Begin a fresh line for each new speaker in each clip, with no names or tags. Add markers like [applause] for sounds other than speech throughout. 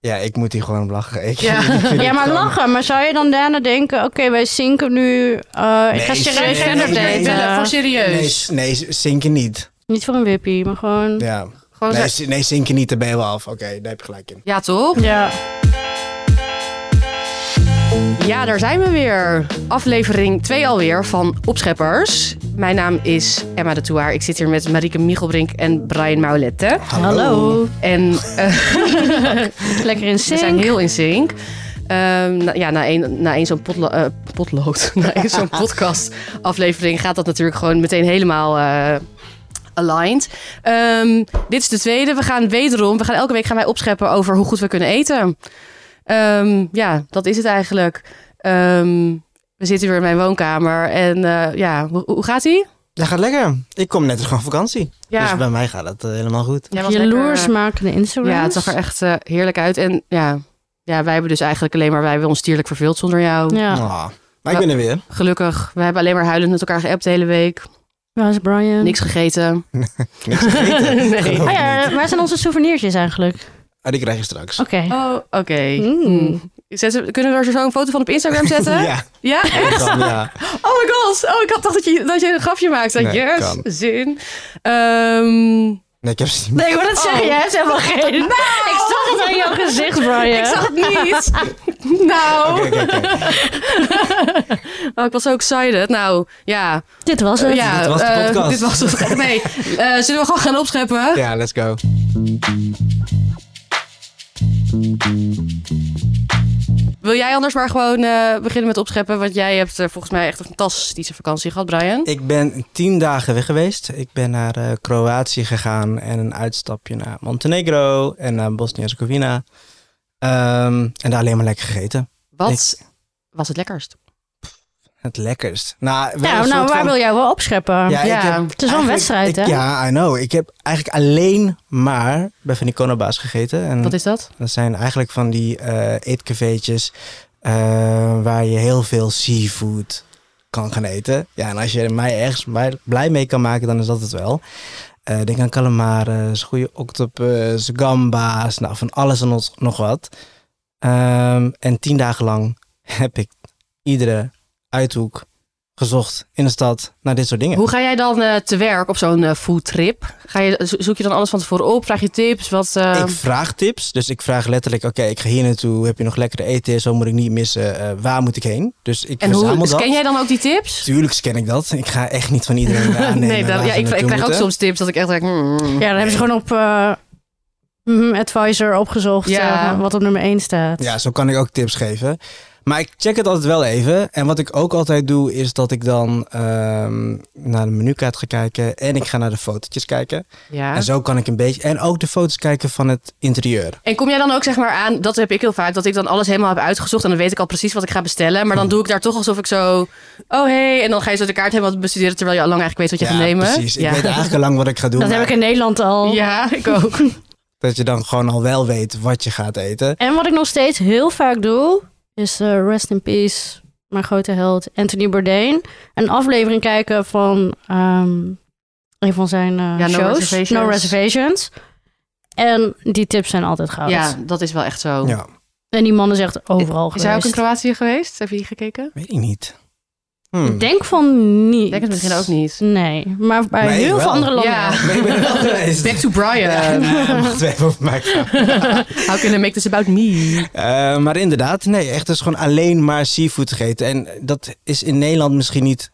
Ja, ik moet hier gewoon om lachen. Ik,
Ja.
ik vind
Ja,
het
maar
gewoon-
lachen. Maar zou je dan daarna denken, oké, wij zinken nu. eh, ik ga
Nee,
Geen
serieus
nee,
verder
gender
nee,
daten,
daten.
voor serieus.
Nee, nee, zinken niet.
Niet voor een wippie, maar gewoon...
Ja.
Gewoon
Nee,
zo-
z- nee, zinken niet, daar ben je wel af. Oké, daar heb je gelijk in.
Ja, toch?
Ja.
Ja, daar zijn we weer. Aflevering 2 alweer van Opscheppers. Mijn naam is Emma de Toer. Ik zit hier met Marieke Michelbrink en Brian Maulette.
Hallo.
En eh,
Lekker in
we
zin.
zijn heel in sync. Ehm, na, ja, na één na één zo'n potlo- eh, potlood, [laughs] na één zo'n podcast aflevering gaat dat natuurlijk gewoon meteen helemaal eh, aligned. Ehm, dit is de tweede. We gaan wederom, we gaan elke week gaan wij opscheppen over hoe goed we kunnen eten. Ehm, ja, dat is het eigenlijk. Ehm, we zitten weer in mijn woonkamer en eh, ja, hoe, hoe gaat ie?
Dat gaat lekker. Ik kom net terug van vakantie.
Ja,
Dus bij mij gaat het eh, helemaal goed.
jij was lekker, eh,
Jaloersmakende Instagram.
Ja, het zag er echt eh, heerlijk uit. En ja, ja, wij hebben dus eigenlijk alleen maar, wij hebben ons dierlijk verveeld zonder jou.
Ja,
Ah, maar ik ben er weer.
Gelukkig, we hebben alleen maar huilend met elkaar geappt de hele week.
waar is Brian?
Niks [laughs] gegeten.
Niks gegeten.
[laughs] nee.
[laughs]
Oh ja, waar zijn onze souvenirsjes eigenlijk?
Ah, die krijg je straks.
Oké.
Oh, oké.
Mm.
Hmm. Zetten- Kunnen we er zo een foto van op Instagram
[laughs]
zetten?
Ja,
Ja?
dat kan, ja.
Oh my god. Oh, ik had dacht dat je, dat je een grafje maakte.
Nee,
yes,
kan.
zin. Ehm,
Nee, ik heb ze niet
Nee, ik wil dat zeggen.
Oh.
Jij hebt helemaal geen... [laughs] Ik zag het aan jouw gezicht, Brian.
ik zag het niet. [laughs] nou.
Oké, oké, oké.
Oh, ik was zo excited. Nou, ja.
Dit was het.
ja,
dit was de
eh,
podcast.
dit
[laughs]
was het. Nee, eh, zullen we gewoon gaan opscheppen?
Ja, let's go.
Wil jij anders maar gewoon eh, beginnen met opscheppen? Want jij hebt eh, volgens mij echt een fantastische vakantie gehad, Brian.
Ik ben tien dagen weg geweest. Ik ben naar eh, Kroatië gegaan en een uitstapje naar Montenegro en naar Bosnië-Herzegovina. Ehm, en daar alleen maar lekker gegeten.
Wat was het lekkerst?
Het lekkerst. Nou, wel
Nou,
een
nou
soort
waar
van-
wil jij wel opscheppen?
Ja,
Ja.
Ik heb
Het is wel
eigenlijk-
een wedstrijd, hè?
ik- Ja, I know. Ik heb eigenlijk alleen maar bij van die konoba's gegeten. En
Wat is dat?
dat zijn eigenlijk van die eh eetcafeetjes eh, waar je heel veel seafood kan gaan eten. Ja, en als je mij ergens bij- blij mee kan maken, dan is dat het wel. Eh, denk aan calamares, goede octopus, gamba's, nou van alles en nog- nog wat. Ehm, en tien dagen lang heb ik iedere uithoek gezocht in de stad naar dit soort dingen.
Hoe ga jij dan eh, te werk op zo'n eh, foodtrip? Ga je, zo- zoek je dan alles van tevoren op? Vraag je tips? Wat, eh,
Ik vraag tips. Dus ik vraag letterlijk: oké, ik ga hier naartoe. Heb je nog lekkere eten? Zo moet ik niet missen. eh, waar moet ik heen? Dus ik
en hoe
verzamel dat.
scan jij dan ook die tips?
Tuurlijk scan ik dat. Ik ga echt niet van
[laughs]
iedereen aannemen.
nee, dat,
waar
ja,
ze
ik, ik
naartoe
krijg ook
moeten.
soms tips dat ik echt denk... hmm.
Ja, dan hebben ze gewoon op eh, mhm, Advisor opgezocht
Ja.
eh, wat op nummer 1 staat.
Ja, zo kan ik ook tips geven. Maar ik check het altijd wel even. En wat ik ook altijd doe, is dat ik dan ehm, naar de menukaart ga kijken. En ik ga naar de fotootjes kijken.
Ja.
En zo kan ik een beetje. En ook de foto's kijken van het interieur.
En kom jij dan ook zeg maar aan, dat heb ik heel vaak, dat ik dan alles helemaal heb uitgezocht en dan weet ik al precies wat ik ga bestellen. Maar dan doe ik daar toch alsof ik zo, oh hey, en dan ga je zo de kaart helemaal bestuderen terwijl je al lang eigenlijk weet wat je gaat nemen.
precies.
ja.
Ik weet eigenlijk al lang wat ik ga doen.
Dat heb
maar
ik in Nederland al.
Ja, ik ook.
Dat je dan gewoon al wel weet wat je gaat eten.
En wat ik nog steeds heel vaak doe, is eh, Rest in Peace, mijn grote held Anthony Bourdain. Een aflevering kijken van ehm, een van zijn eh,
Ja, No
shows,
Reservations.
No Reservations. En die tips zijn altijd goud.
Ja, dat is wel echt zo.
Ja,
En die man is echt overal
Is
geweest.
hij ook in Kroatië geweest? Heb je die gekeken?
weet ik niet. Hmm.
Ik denk van niet.
Ik denk het misschien ook niet.
Nee, maar bij
Maar ik
heel veel
wel.
andere landen.
Ja. [laughs]
Maar ik ben er wel geweest.
Back to Brian. [laughs]
Ja, nou. nee, je mag het even over mij gaan.
How can I make this about me?
Eh, maar inderdaad, nee, echt dus gewoon alleen maar seafood gegeten. En dat is in Nederland misschien niet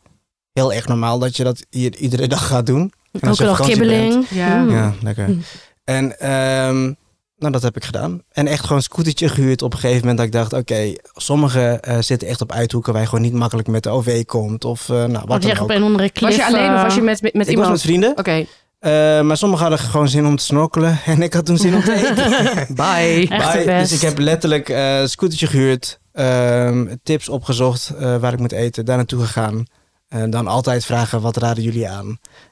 heel erg normaal dat je dat hier iedere dag gaat doen. En als
Elke
je op
dag
vakantie
kibbeling.
Ja.
Mm.
bent. Ja, lekker.
Mm.
En ehm, nou, dat heb ik gedaan. En echt gewoon een scootertje gehuurd op een gegeven moment. Dat ik dacht, oké, sommige eh, zitten echt op uithoeken waar je gewoon niet makkelijk met de OV komt. Of eh, nou,
Wat
wat dan
je op
ook.
een of andere klif...
Was je alleen of
eh,
was je met, met, met
Ik was
iemand?
met vrienden,
Oké,
eh, maar sommigen hadden gewoon zin om te snorkelen. [laughs] En ik had toen zin om
[laughs]
te eten.
bye.
Echt de
Maar-
best.
Dus ik heb letterlijk eh scootertje gehuurd, ehm, tips opgezocht eh, waar ik moet eten, daar naartoe gegaan. En dan altijd vragen, wat raden jullie aan?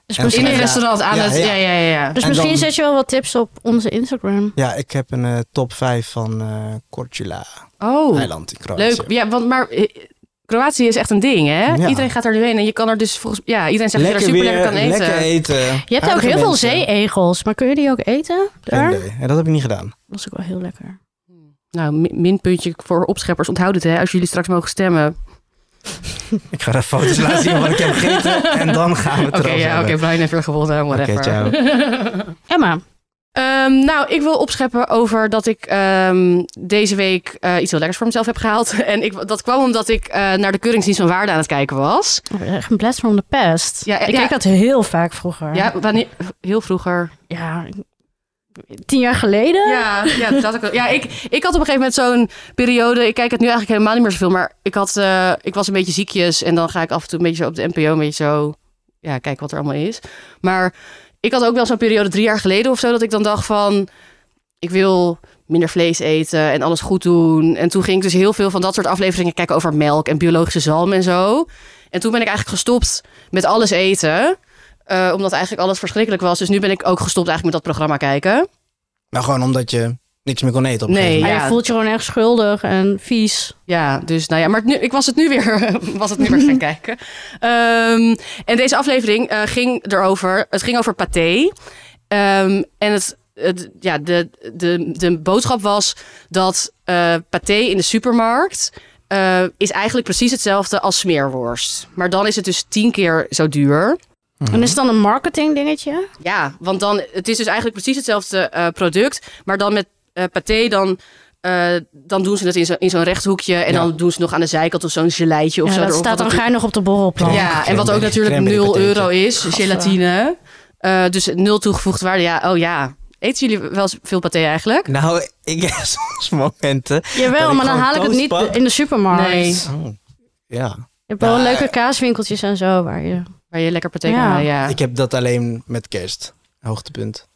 Dus
En
In
misschien-
een restaurant aan
Ja,
het...
ja.
Ja, ja, ja.
Dus
En
misschien
dan-
zet je wel wat tips op onze Instagram.
Ja, ik heb een eh, top 5 van eh Korčula
Oh,
eiland in Kroatië.
Leuk. Ja, want maar eh, Kroatië is echt een ding, hè?
Ja.
Iedereen gaat er nu heen en je kan er dus volgens ja, iedereen zegt dat je er super lekker kan eten.
lekker eten.
Je hebt ook heel veel zeeegels, maar kun je die ook eten? Daar?
En dat heb ik niet gedaan.
Dat is ook wel heel lekker.
nou, mi- minpuntje voor opscheppers. Onthoud het, hè. Als jullie straks mogen stemmen.
Ik ga daar foto's laten zien wat ik heb gegeten. En dan gaan we het
Oké,
erover
ja, oké.
hebben.
Brian heeft weer gewonnen. Whatever.
ciao.
[laughs]
Emma,
Ehm, nou, ik wil opscheppen over dat ik ehm, deze week eh, iets heel lekkers voor mezelf heb gehaald. [laughs] En ik, dat kwam omdat ik eh, naar de Keuringsdienst van Waarde aan het kijken was.
echt een blast from the past.
Ja,
ik
ja.
keek dat heel vaak vroeger.
Ja, wanneer, heel vroeger.
Ja, ik- tien jaar geleden.
Ja, ja, dus dat had ik, wel. ja ik, ik had op een gegeven moment zo'n periode. Ik kijk het nu eigenlijk helemaal niet meer zoveel. Maar ik, had, eh, ik was een beetje ziekjes. En dan ga ik af en toe een beetje zo op de NPO. Een beetje zo. Ja, kijken wat er allemaal is. Maar ik had ook wel zo'n periode drie jaar geleden of zo. Dat ik dan dacht van. Ik wil minder vlees eten en alles goed doen. En toen ging ik dus heel veel van dat soort afleveringen kijken over melk en biologische zalm en zo. En toen ben ik eigenlijk gestopt met alles eten. eh, omdat eigenlijk alles verschrikkelijk was. Dus nu ben ik ook gestopt eigenlijk met dat programma kijken.
Maar gewoon omdat je niks meer kon eten op een
Nee.
gegeven
Maar
moment.
Ja.
je voelt je gewoon echt schuldig en vies.
Ja, dus nou ja, maar nu, ik was het nu weer, [laughs] was het nu weer gaan kijken. Ehm, en deze aflevering eh, ging erover, het ging over paté. Ehm, en het, het- ja, de, de, de boodschap was dat eh paté in de supermarkt eh, is eigenlijk precies hetzelfde als smeerworst. Maar dan is het dus tien keer zo duur.
Mhm.
En is het dan een marketing dingetje?
Ja, want dan, het is dus eigenlijk precies hetzelfde eh, product, maar dan met eh paté dan... eh, dan doen ze het in zo'n in zo'n rechthoekje. En
Ja.
dan doen ze nog aan de zijkant of zo'n geleitje of
Ja,
zo.
dat
erop,
staat
wat
dan
ook-
geinig op de borrelplank.
Ja,
ja, en wat ook
cranberry-
natuurlijk
cranberry
0
patatje.
euro is, gelatine. Eh, dus nul toegevoegde waarde. Ja, oh ja. Eten jullie wel eens veel paté eigenlijk?
Nou, ik heb [laughs] soms momenten. Dat
Jawel,
ik
maar dan
gewoon
haal ik het niet
toastpan-
in de supermarkt.
Nee.
Oh, ja.
Je hebt wel
Nou,
leuke kaaswinkeltjes en zo. Waar je...
Waar je lekker paté
Ja.
kan halen, ja.
Ik heb dat alleen met kerst. Hoogtepunt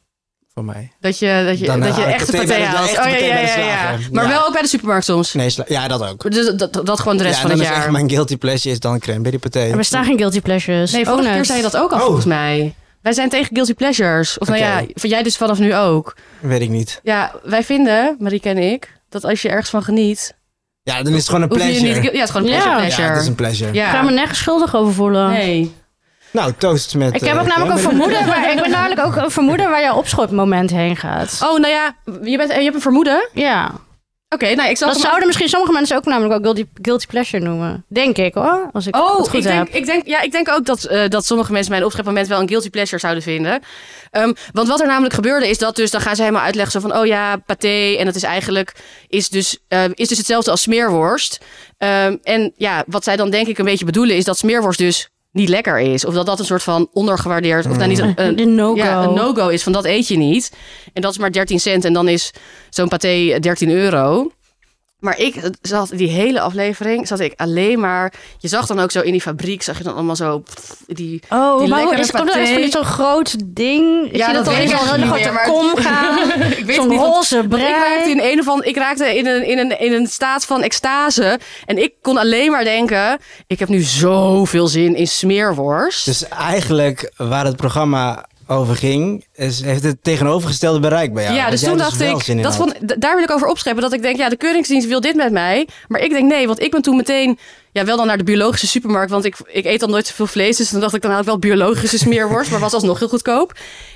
voor mij.
Dat je, dat je,
Dan
dat je
haal ik
echte
paté bij
paté
de-
haalt.
echte
Oh ja,
paté
ja,
bij de
ja, ja.
slager.
Maar
Ja.
wel ook bij de supermarkt soms.
Nee, sla- ja, dat ook.
Dus dat, dat, dat gewoon de rest
ja,
van
dan
het
is echt
jaar.
mijn guilty pleasure is dan cranberry paté.
Er bestaan geen guilty pleasures.
Nee, vorige keer
Owners.
zei je dat ook al
Oh.
volgens mij. Wij zijn tegen guilty pleasures. Of
Oké.
nou ja, van jij dus vanaf nu ook.
Weet ik niet.
Ja, wij vinden, Marieke en ik, dat als je ergens van geniet...
Ja, dan is het gewoon een
Hoef je je
pleasure.
niet... Ja, het is gewoon een
Ja.
pleasure.
Ja, het is
pleasure.
een pleasure.
Ik ga
Ja.
me nergens schuldig over voelen.
Nee.
Nou, toast met...
Ik heb
eh,
ook namelijk een
cranberry-
vermoeden, waar, ik ben namelijk ook een vermoeden waar jouw opschotmoment heen gaat.
Oh, nou ja, je, bent, je hebt een vermoeden. Oké,
Ja,
nou ik zal.
dat
hem-
zouden misschien sommige mensen ook namelijk ook guilty, guilty pleasure noemen. Denk ik hoor, als ik het
Oh,
goed
ik denk,
heb.
ik, denk, ja, ik denk ook dat, eh, dat sommige mensen mijn opschepmoment wel een guilty pleasure zouden vinden. Ehm, want wat er namelijk gebeurde is dat dus, dan gaan ze helemaal uitleggen zo van, oh ja, paté en dat is eigenlijk, is dus, eh, is dus hetzelfde als smeerworst. Ehm, en ja, wat zij dan denk ik een beetje bedoelen is dat smeerworst dus niet lekker is. Of dat dat een soort van ondergewaardeerd, of nou niet een, een-
De no-go.
ja, een no-go is van dat eet je niet. En dat is maar 13 cent en dan is zo'n paté 13 euro. Maar ik eh, zat die hele aflevering, zat ik alleen maar... Je zag dan ook zo in die fabriek, zag je dan allemaal zo... pff, Die,
Oh,
Die
maar hoe
lekkere
is, komt er echt
paté.
van niet zo'n groot ding? Ik
Ja,
zie
dat
dat, al
weet
in
ik
zo'n
eigenlijk
hele
niet
grote
meer,
kom gaan. [laughs]
ik weet
Zo'n
niet wat-
roze brei.
Ik raakte in een van, ik raakte in een, in, een, in een staat van extase. En ik kon alleen maar denken, ik heb nu zoveel zin in smeerworst.
Dus eigenlijk waar het programma over ging, is, heeft het tegenovergestelde bereik bij
ja,
jou.
dus
Dat jij
toen dacht
wel zin
ik,
in had.
dat vond, d- daar wil ik over opscheppen. Dat ik denk, ja, de keuringsdienst wil dit met mij. Maar ik denk nee, want ik ben toen meteen, ja, wel dan naar de biologische supermarkt. Want ik, ik eet dan nooit zoveel vlees. Dus dan dacht ik, dan haal ik wel biologische smeerworst. maar was alsnog heel goedkoop.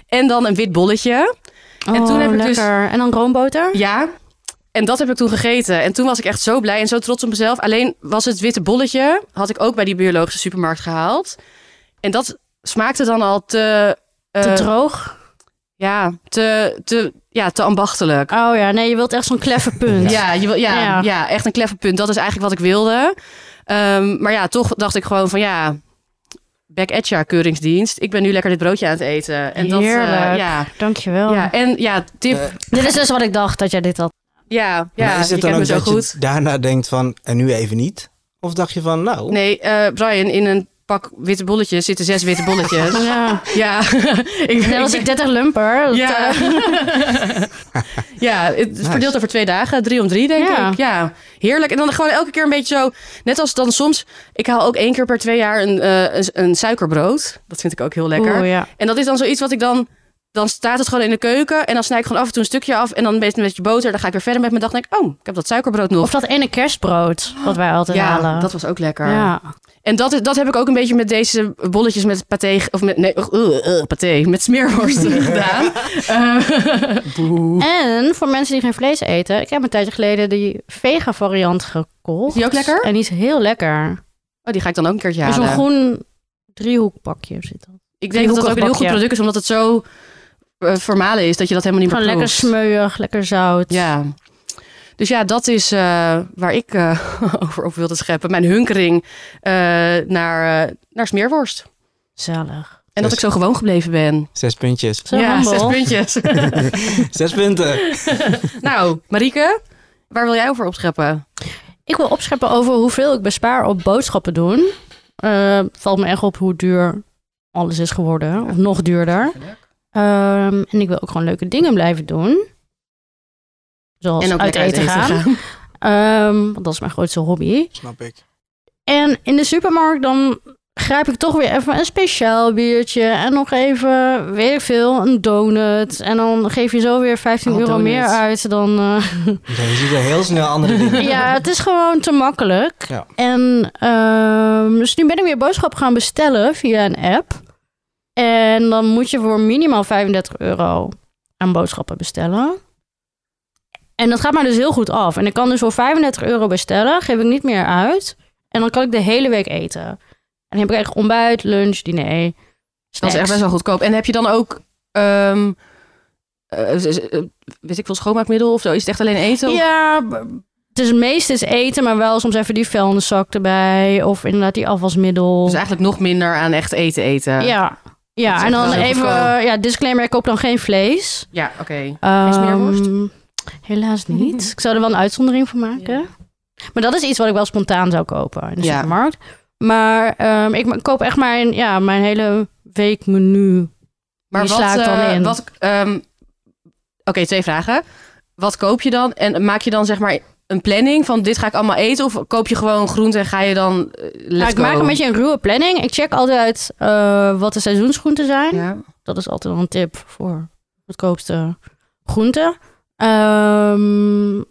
En dan een wit bolletje. En toen
Oh,
heb ik dus-
lekker. En dan roomboter?
Ja. En dat heb ik toen gegeten. En toen was ik echt zo blij en zo trots op mezelf. Alleen was het witte bolletje, had ik ook bij die biologische supermarkt gehaald. En dat smaakte dan al te...
Te
eh,
droog?
ja, te, te, ja, te ambachtelijk.
Oh ja, nee, je wilt echt zo'n kleffe punt.
Ja, je wil, ja, ja.
Ja.
echt een clever punt. Dat is eigenlijk wat ik wilde. Ehm, maar ja, toch dacht ik gewoon van ja, back at ya, keuringsdienst. Ik ben nu lekker dit broodje aan het eten. En dat, eh,
Heerlijk. Oh.
ja.
Dankjewel.
ja, en ja, tip.
Eh,
Dit is dus wat ik dacht, dat jij dit had.
ja,
Maar
ja,
is het
je
dan ook
kent me
dat
zo goed.
je daarna denkt van, en nu even niet? Of dacht je van, nou...
Nee, eh, Brian, in een pak witte bolletjes zitten zes witte
[laughs]
bolletjes.
Ja.
ja, [laughs] ik,
Net als
ik
ik eh. 30 lumper. dat,
Ja.
eh,
[laughs] ja, het is
Nice.
verdeeld over twee dagen. Drie om drie, denk
Ja.
ik. Ja, heerlijk. En dan gewoon elke keer een beetje zo... Net als dan soms... Ik haal ook één keer per twee jaar een, eh, een, een suikerbrood. Dat vind ik ook heel lekker.
Oeh, ja.
En dat is dan zoiets wat ik dan... Dan staat het gewoon in de keuken. En dan snij ik gewoon af en toe een stukje af. En dan een beetje een beetje boter. Dan ga ik weer verder met mijn dag. En denk ik, oh, ik heb dat suikerbrood nog.
Of dat ene kerstbrood, wat wij altijd
ja,
halen.
dat was ook lekker.
ja.
En dat, dat heb ik ook een beetje met deze bolletjes met paté... Of met, nee, eh, eh, paté. Met smeerworsten gedaan. Eh, boe.
En voor mensen die geen vlees eten, ik heb een tijdje geleden die vega variant gekocht.
Is die ook lekker?
En die is heel lekker.
Oh, die ga ik dan ook een keertje
In
halen.
Zo'n groen driehoekpakje zit dat.
ik denk dat dat ook een heel goed product is, omdat het zo eh, formalen is dat je dat helemaal niet meer
Gewoon lekker
proeft.
smeuig, lekker zout.
Ja. Dus ja, dat is eh, waar ik eh, [laughs] over op wilde scheppen. Mijn hunkering eh, naar, eh, naar smeerworst.
Gezellig.
En dat ik zo gewoon gebleven ben.
Zes puntjes.
Zo
ja,
humble.
zes [laughs] puntjes.
[laughs] Zes punten.
nou, Marieke, waar wil jij over opscheppen?
Ik wil opscheppen over hoeveel ik bespaar op boodschappen doen. Eh, valt me echt op hoe duur alles is geworden. Of nog duurder. Ehm, en ik wil ook gewoon leuke dingen blijven doen. Zoals
en ook
uit
lekker
eten, gaan. Ehm, want dat is mijn grootste hobby.
Snap ik.
En in de supermarkt dan grijp ik toch weer even een speciaal biertje. En nog even, weet ik veel, een donut. En dan geef je zo weer 15
Oh,
euro
donut.
meer uit dan... eh,
Je ziet er heel snel andere dingen.
ja, het is gewoon te makkelijk.
Ja.
En ehm, dus nu ben ik weer boodschap gaan bestellen via een app. En dan moet je voor minimaal 35 euro aan boodschappen bestellen. En dat gaat mij dus heel goed af. En ik kan dus voor 35 euro bestellen, geef ik niet meer uit. En dan kan ik de hele week eten. En dan heb ik echt ontbijt, lunch, diner.
Dat is echt
snacks.
best wel goedkoop. En heb je dan ook, ehm, eh, z- z- eh, weet ik veel, schoonmaakmiddel of zo? Is het echt alleen eten?
Ja, b- het is het meeste is eten, maar wel soms even die vuilniszak erbij. Of inderdaad die afwasmiddel.
Dus eigenlijk nog minder aan echt eten eten.
Ja,
Dat is
ja en
echt
dan
wel heel
even, eh,
goedkoop.
ja, disclaimer, ik koop dan geen vlees.
Ja, oké.
Ehm,
smeerworst? [laughs]
helaas niet. ik zou er wel een uitzondering van maken.
Ja.
Maar dat is iets wat ik wel spontaan zou kopen in de
Ja.
supermarkt. Maar ehm, ik ma- koop echt mijn, ja, mijn hele weekmenu.
Maar
Die
wat,
sla ik dan
eh,
in.
wat, ehm, Oké, twee vragen. Wat koop je dan? En maak je dan zeg maar een planning van dit ga ik allemaal eten? Of koop je gewoon groente en ga je dan eh, let's
Ja, Nou, ik
go?
maak een beetje een ruwe planning. Ik check altijd eh, wat de seizoensgroenten zijn.
Ja.
Dat is altijd wel een tip voor goedkoopste groenten. Ehm,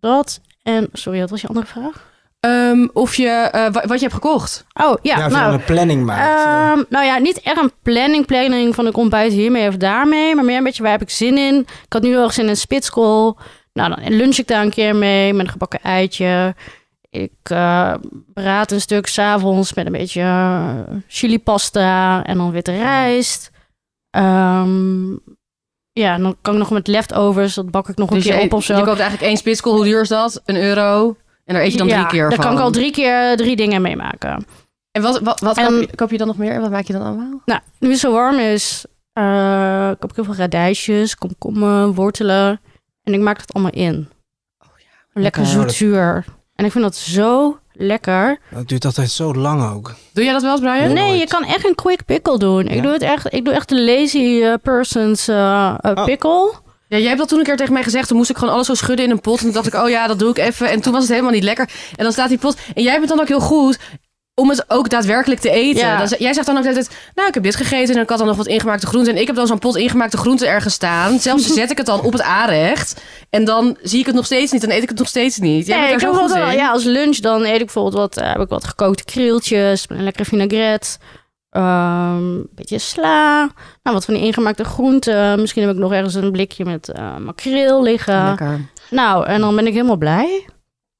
dat en, sorry, wat was je andere vraag?
Ehm, of je, eh, wa- wat je hebt gekocht.
Oh ja,
Ja, als je dan
nou,
een eh. planning maakt.
ehm, nou ja, niet echt een planning, planning van ik ontbijt hiermee of daarmee, maar meer een beetje waar heb ik zin in. Ik had nu heel erg zin in spitskool. Nou, dan lunch ik daar een keer mee met een gebakken eitje. Ik eh braad een stuk s'avonds met een beetje eh, chilipasta en dan witte rijst. Ehm, ja, en dan kan ik nog met leftovers, dat bak ik nog een
Dus je,
keer op of zo.
je koopt eigenlijk één spitskool. Hoe duur is dat? Een euro. En daar eet je dan
Ja,
drie keer
Daar
van.
kan ik al drie keer drie dingen mee maken.
En wat, wat, wat
En-
koop, je, koop je dan nog meer? En wat maak je dan allemaal?
Nou, nu het zo warm is, eh, koop ik heel veel radijsjes, komkommen, wortelen. En ik maak dat allemaal in. Lekker
Lekker.
zoetzuur. En ik vind dat zo lekker.
Dat duurt altijd zo lang ook.
Doe jij dat wel eens, Brian?
Nee.
Nee, je kan echt een quick pickle doen. Ik,
Ja.
doe, het echt, ik doe echt de lazy eh, person's eh, eh,
Oh.
pickle.
Ja, jij hebt dat toen een keer tegen mij gezegd. Toen moest ik gewoon alles zo schudden in een pot. En toen dacht ik, oh ja, dat doe ik even. En toen was het helemaal niet lekker. En dan staat die pot. En jij bent dan ook heel goed om het ook daadwerkelijk te eten.
Ja.
Dan ze- jij zegt dan ook altijd, nou, ik heb dit gegeten. En ik had dan nog wat ingemaakte groenten. En ik heb dan zo'n pot ingemaakte groenten ergens staan. Zelfs zet ik het dan op het aanrecht. En dan zie ik het nog steeds niet. Dan eet ik het nog steeds niet. Jij
Nee,
bent
ik
daar
doe
zo goed
wel-
in.
ja, als lunch dan eet ik bijvoorbeeld wat, eh, heb ik wat gekookte krieltjes, een lekkere vinaigrette, ehm, een beetje sla, nou, wat van die ingemaakte groenten. Misschien heb ik nog ergens een blikje met eh makreel liggen.
Lekker.
Nou, en dan ben ik helemaal blij.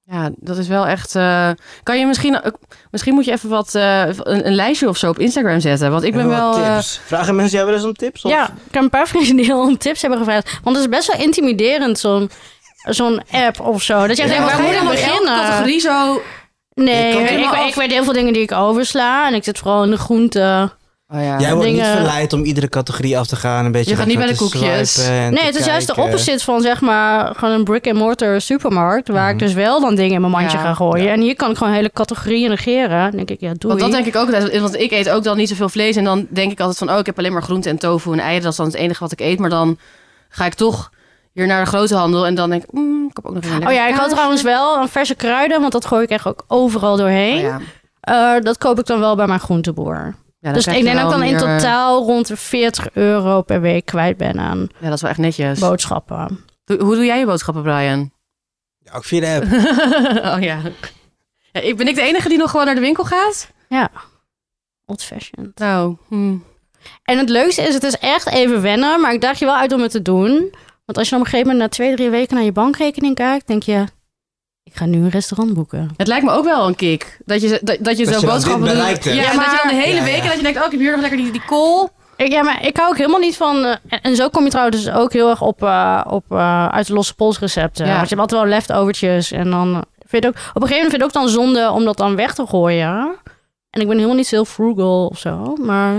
Ja, dat is wel echt... eh, kan je misschien... ook- misschien moet je even wat, eh, een, een lijstje of zo op Instagram zetten. Want ik ben
Hebben we
wel...
wat
eh,
tips. Vragen mensen jou wel eens om tips? Of?
Ja, ik heb een paar vrienden die al om tips hebben gevraagd. Want het is best wel intimiderend, zo'n zo'n app of zo. Dat je
ja,
denkt,
maar
waar
ga je
moet ik
dan nog elke
beginnen?
categorie zo
Nee,
Je kan
ik,
helemaal
ik,
af-
ik weet heel veel dingen die ik oversla. En ik zit vooral in de groenten.
Oh ja.
Jij wordt niet
dingen-
verleid om iedere categorie af te gaan. Een beetje
Je gaat niet
zo
bij de
te
koekjes.
swipen en
Nee,
te
het is juist de
kijken.
opposite van zeg maar gewoon een brick-and-mortar supermarkt. Waar ik
Mhm.
dus wel dan dingen in mijn mandje
Ja,
ga gooien. En hier kan ik gewoon hele categorieën negeren. Dan denk ik, ja, doei.
Want dat denk ik ook, altijd, want ik eet ook dan niet zoveel vlees. En dan denk ik altijd van, oh, ik heb alleen maar groente en tofu en eieren. Dat is dan het enige wat ik eet. Maar dan ga ik toch hier naar de groothandel. En dan denk ik, mm, ik heb ook nog een
Oh ja, ik had trouwens wel een verse kruiden, want dat gooi ik echt ook overal doorheen.
één. Oh ja.
Eh, dat koop ik dan wel bij mijn groenteboer.
Ja, dan
dus
krijg
ik
je
denk dat ik
wel
dan in
meer- eh,
totaal rond de 40 euro per week kwijt ben aan
Ja, dat is wel echt netjes.
boodschappen.
[laughs]
Oh,
Doe- hoe doe jij je boodschappen, Brian?
Ja, ook via de app.
oh ja. Ja, ik ben ik de enige die nog gewoon naar de winkel gaat?
Ja. Old fashioned.
Nou, hm.
En het leukste is, het is echt even wennen, maar ik daag je wel uit om het te doen. Want als je dan op een gegeven moment na twee, drie weken naar je bankrekening kijkt, denk je, ik ga nu een restaurant boeken.
het lijkt me ook wel een kick. Dat je, dat, dat je
Dat
zo
je dan
boodschappen
dit
doet.
bereikt
Ja,
hebt.
Ja,
dat je dan de
maar-
hele
Ja,
week...
ja.
en dat je denkt, oh, ik heb hier nog lekker die, die kool.
Ik, ja, maar ik hou ook helemaal niet van... eh, en, en zo kom je trouwens dus ook heel erg op, eh, op eh, uit de losse pols recepten.
Ja.
Want je hebt altijd wel leftovertjes. En dan eh, vind ik ook, op een gegeven moment vind ik ook dan zonde om dat dan weg te gooien. En ik ben helemaal niet zo heel frugal of zo. Maar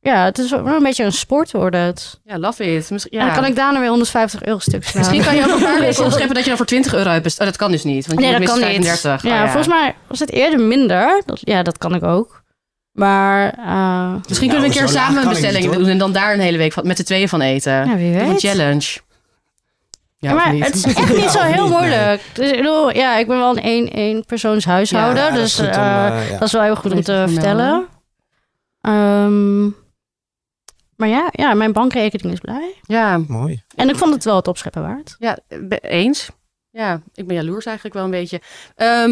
ja, het is wel een beetje een sport wordt het.
Ja, love it. Misschien,
En
ja.
dan kan ik daarna weer 150 euro stuk slaan.
Misschien kan je ook een paar weken
Ja.
opscheppen dat je dan voor 20 euro hebt. best- Oh, dat kan dus niet, want je
Nee,
moet
dat kan
minstens
niet.
35.
Ja,
Oh,
volgens mij was het eerder minder. Dat, ja, dat kan ik ook. Maar eh,
Misschien kunnen we een
Nou, zo
keer
laag
samen een
kan ik
bestelling
niet, hoor.
doen en dan daar een hele week van, met z'n tweeën van eten.
ja, wie
Doe een
weet.
challenge. Ja,
Ja,
of
maar
niet?
het is echt
Ja,
niet zo
[laughs] of
heel
niet, nee.
moeilijk. Dus ik bedoel, ja, ik ben wel een één, één persoons huishouden.
Ja, dat is
dus
goed om,
eh,
eh, ja.
dat is wel heel goed om
Even
te
te
vertellen. Ehm, maar ja, ja, mijn bankrekening is blij.
Ja,
Mooi.
En ik vond het wel het opscheppen waard.
ja, be- eens. Ja, ik ben jaloers eigenlijk wel een beetje. Ehm,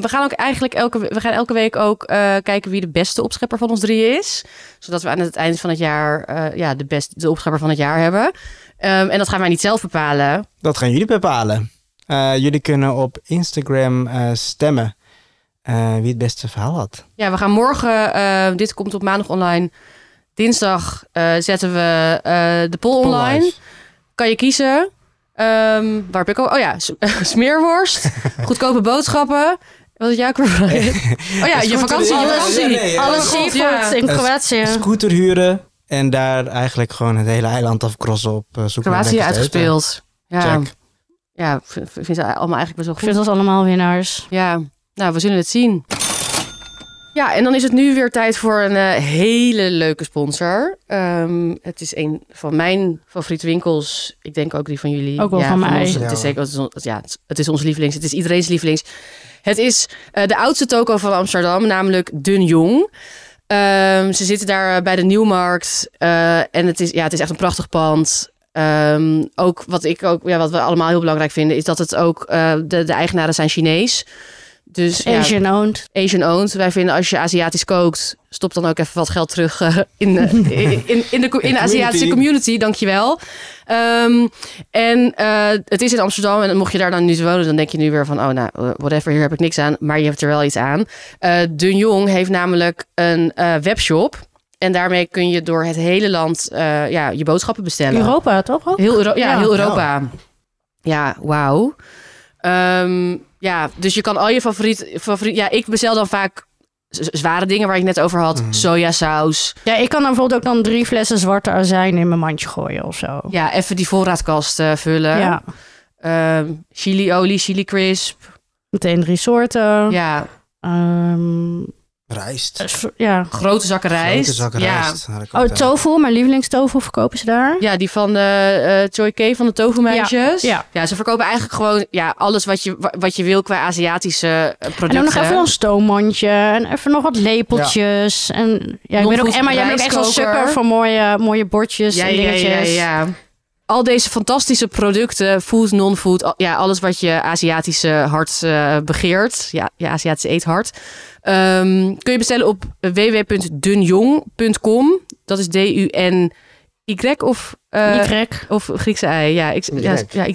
we gaan ook eigenlijk elke, we gaan elke week ook eh, kijken wie de beste opschepper van ons drie is. Zodat we aan het eind van het jaar eh, ja, de, best, de opschepper van het jaar hebben. Ehm, en dat gaan wij niet zelf bepalen.
Dat gaan jullie bepalen. Eh, jullie kunnen op Instagram eh, stemmen eh, wie het beste verhaal had.
Ja, we gaan morgen, eh, dit komt op maandag online. Dinsdag eh, zetten we eh, de poll online.
Pollife.
kan je kiezen. Ehm, waar heb ik ook? Oh ja, s- [laughs]
[laughs]
smeerworst, goedkope boodschappen. Wat is jouw [laughs] ook weer? Oh ja,
is
je
goed,
vakantie, je
ja,
vakantie.
ja, nee, ja.
Alle
Oh mijn god, ja.
seafood in
Dat is-
Kroatië.
Scooter huren en daar eigenlijk gewoon het hele eiland afkrossen op eh, zoek naar
Kroatië
lekkers te eten.
uitgespeeld. Ja,
Check.
ja, ik vind- vind ze allemaal eigenlijk best wel
Ik
goed.
vind dat allemaal winnaars.
Ja, nou, we zullen het zien. Ja, en dan is het nu weer tijd voor een eh, hele leuke sponsor. Ehm, het is een van mijn favoriete winkels. Ik denk ook die van jullie.
Ook wel
ja,
van mij.
ons. Het
Ja.
is zeker, het is, on- ja, het is- het is ons lievelings. Het is iedereen's lievelings. Het is eh, de oudste toko van Amsterdam, namelijk Dun Jong. Ehm, ze zitten daar eh, bij de Nieuwmarkt. eh, en het is, ja, het is echt een prachtig pand. Ehm, ook wat ik ook, ja, wat we allemaal heel belangrijk vinden, is dat het ook eh, de, de eigenaren zijn Chinees. Dus ja,
Asian owned.
Asian-owned. Wij vinden als je Aziatisch kookt, stop dan ook even wat geld terug eh, in, de, in, in, in de, co- in de Aziatische community. Dankjewel. Ehm en eh, het is in Amsterdam. En mocht je daar dan nu wonen, dan denk je nu weer van... oh, nou, eh, whatever, hier heb ik niks aan. Maar je hebt er wel iets aan. Eh de Jong heeft namelijk een eh, webshop. En daarmee kun je door het hele land eh, ja, je boodschappen bestellen.
Europa, toch? Ook?
Heel Euro- ja,
Ja.
heel Europa. Ja, wauw. Ehm, ja, dus je kan al je favoriet, favoriet... Ja, ik bestel dan vaak z- zware dingen waar ik net over
Mhm.
had. Sojasaus.
Ja, ik kan dan bijvoorbeeld ook dan drie flessen zwarte azijn in mijn mandje gooien of zo.
Ja, even die voorraadkast eh, vullen.
ja.
Ehm, chiliolie, chili crisp.
Meteen drie soorten.
Ja,
Ehm,
Rijst.
s- ja.
grote zakken Eh, rijst.
Grote zakken
ja.
rijst. had ik
Oh,
ook, eh,
tofu, mijn lievelingstofu verkopen ze daar.
Ja, die van eh eh Choi K van de Tofu Meisjes.
Ja, ja.
ze verkopen eigenlijk gewoon ja, alles wat je, wa- wat je wil qua Aziatische eh, producten.
En dan nog even een stoommandje en even nog wat lepeltjes. En ja, ik weet ook,
Non-food
Emma, jij bent ook echt wel
rijstkoker.
sukker voor mooie, mooie bordjes en dingetjes.
Ja, ja, ja. Al deze fantastische producten, food, non-food, al- ja, alles wat je Aziatische hart eh, begeert, ja, je Aziatische eethart, ehm, kun je bestellen op www.dunjong.com. Dat is D-U-N-Y of, eh,
Die krek.
of Griekse ei. Ja, ik, ja,
Y.
ja,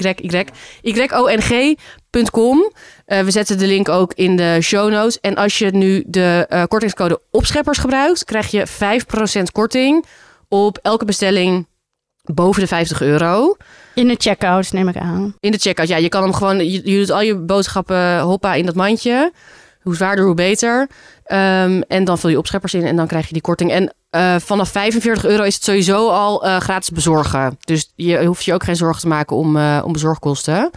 Y, Y. Y-O-N-G.com. Eh, we zetten de link ook in de show notes. En als je nu de eh, kortingscode opscheppers gebruikt, krijg je 5% korting op elke bestelling boven de 50 euro.
In de checkout neem ik aan.
In de checkout, ja, je kan hem gewoon, je, je doet al je boodschappen hoppa in dat mandje. Hoe zwaarder, hoe beter. Ehm, en dan vul je opscheppers in en dan krijg je die korting. En eh, vanaf 45 euro is het sowieso al eh, gratis bezorgen. Dus je hoeft je ook geen zorgen te maken om, eh, om bezorgkosten.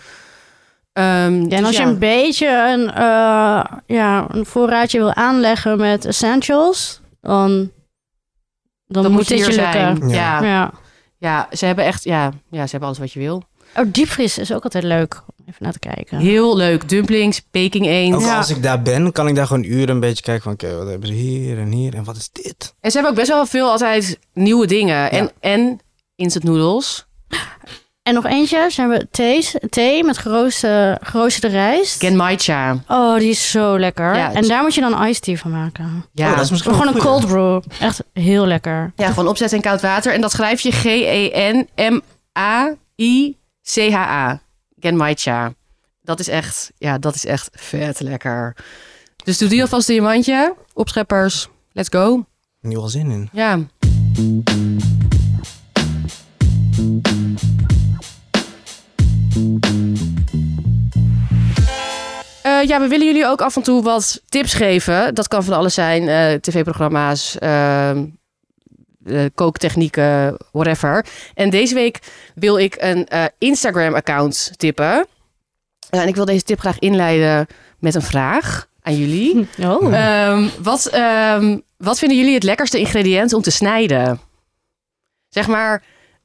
Ehm,
Ja, en
dus
als je
ja.
een beetje een, eh, ja, een voorraadje wil aanleggen met essentials, dan, dan,
Dat
moet dit je
hier
lukken.
zijn. Ja.
Ja.
Ja.
Ja.
ze hebben echt, ja, ja, ze hebben alles wat je wil.
Oh, diepvries is ook altijd leuk. om Even naar te kijken.
Heel leuk. Dumplings, Peking eend.
Ook
Ja.
als ik daar ben, kan ik daar gewoon uren een beetje kijken van... Oké, wat hebben ze hier en hier en wat is dit?
En ze hebben ook best wel veel altijd nieuwe dingen. En, en instant noodles.
En nog eentje zijn we thees, thee met gerooste, geroosterde rijst.
Genmaicha.
Oh, die is zo lekker.
Ja, het
en
is-
daar moet je dan iced tea van maken.
Ja.
Oh, dat is misschien
Gewoon
wel
een
goed,
cold brew. Echt heel lekker.
ja, gewoon opzetten in koud water. En dat schrijf je E G-E-N-M-A-I-C-H-A. Genmaicha. Dat is echt, ja, dat is echt vet lekker. Dus doe die alvast in je mandje. Opscheppers, let's go.
hè? Nu al zin in.
Ja. Eh, ja, we willen jullie ook af en toe wat tips geven. Dat kan van alles zijn: eh, tv-programma's, ehm, eh, kooktechnieken, whatever. En deze week wil ik een eh, Instagram-account tippen. Eh, en ik wil deze tip graag inleiden met een vraag aan jullie.
Oh.
Ehm, wat, ehm, wat vinden jullie het lekkerste ingrediënt om te snijden? Zeg maar.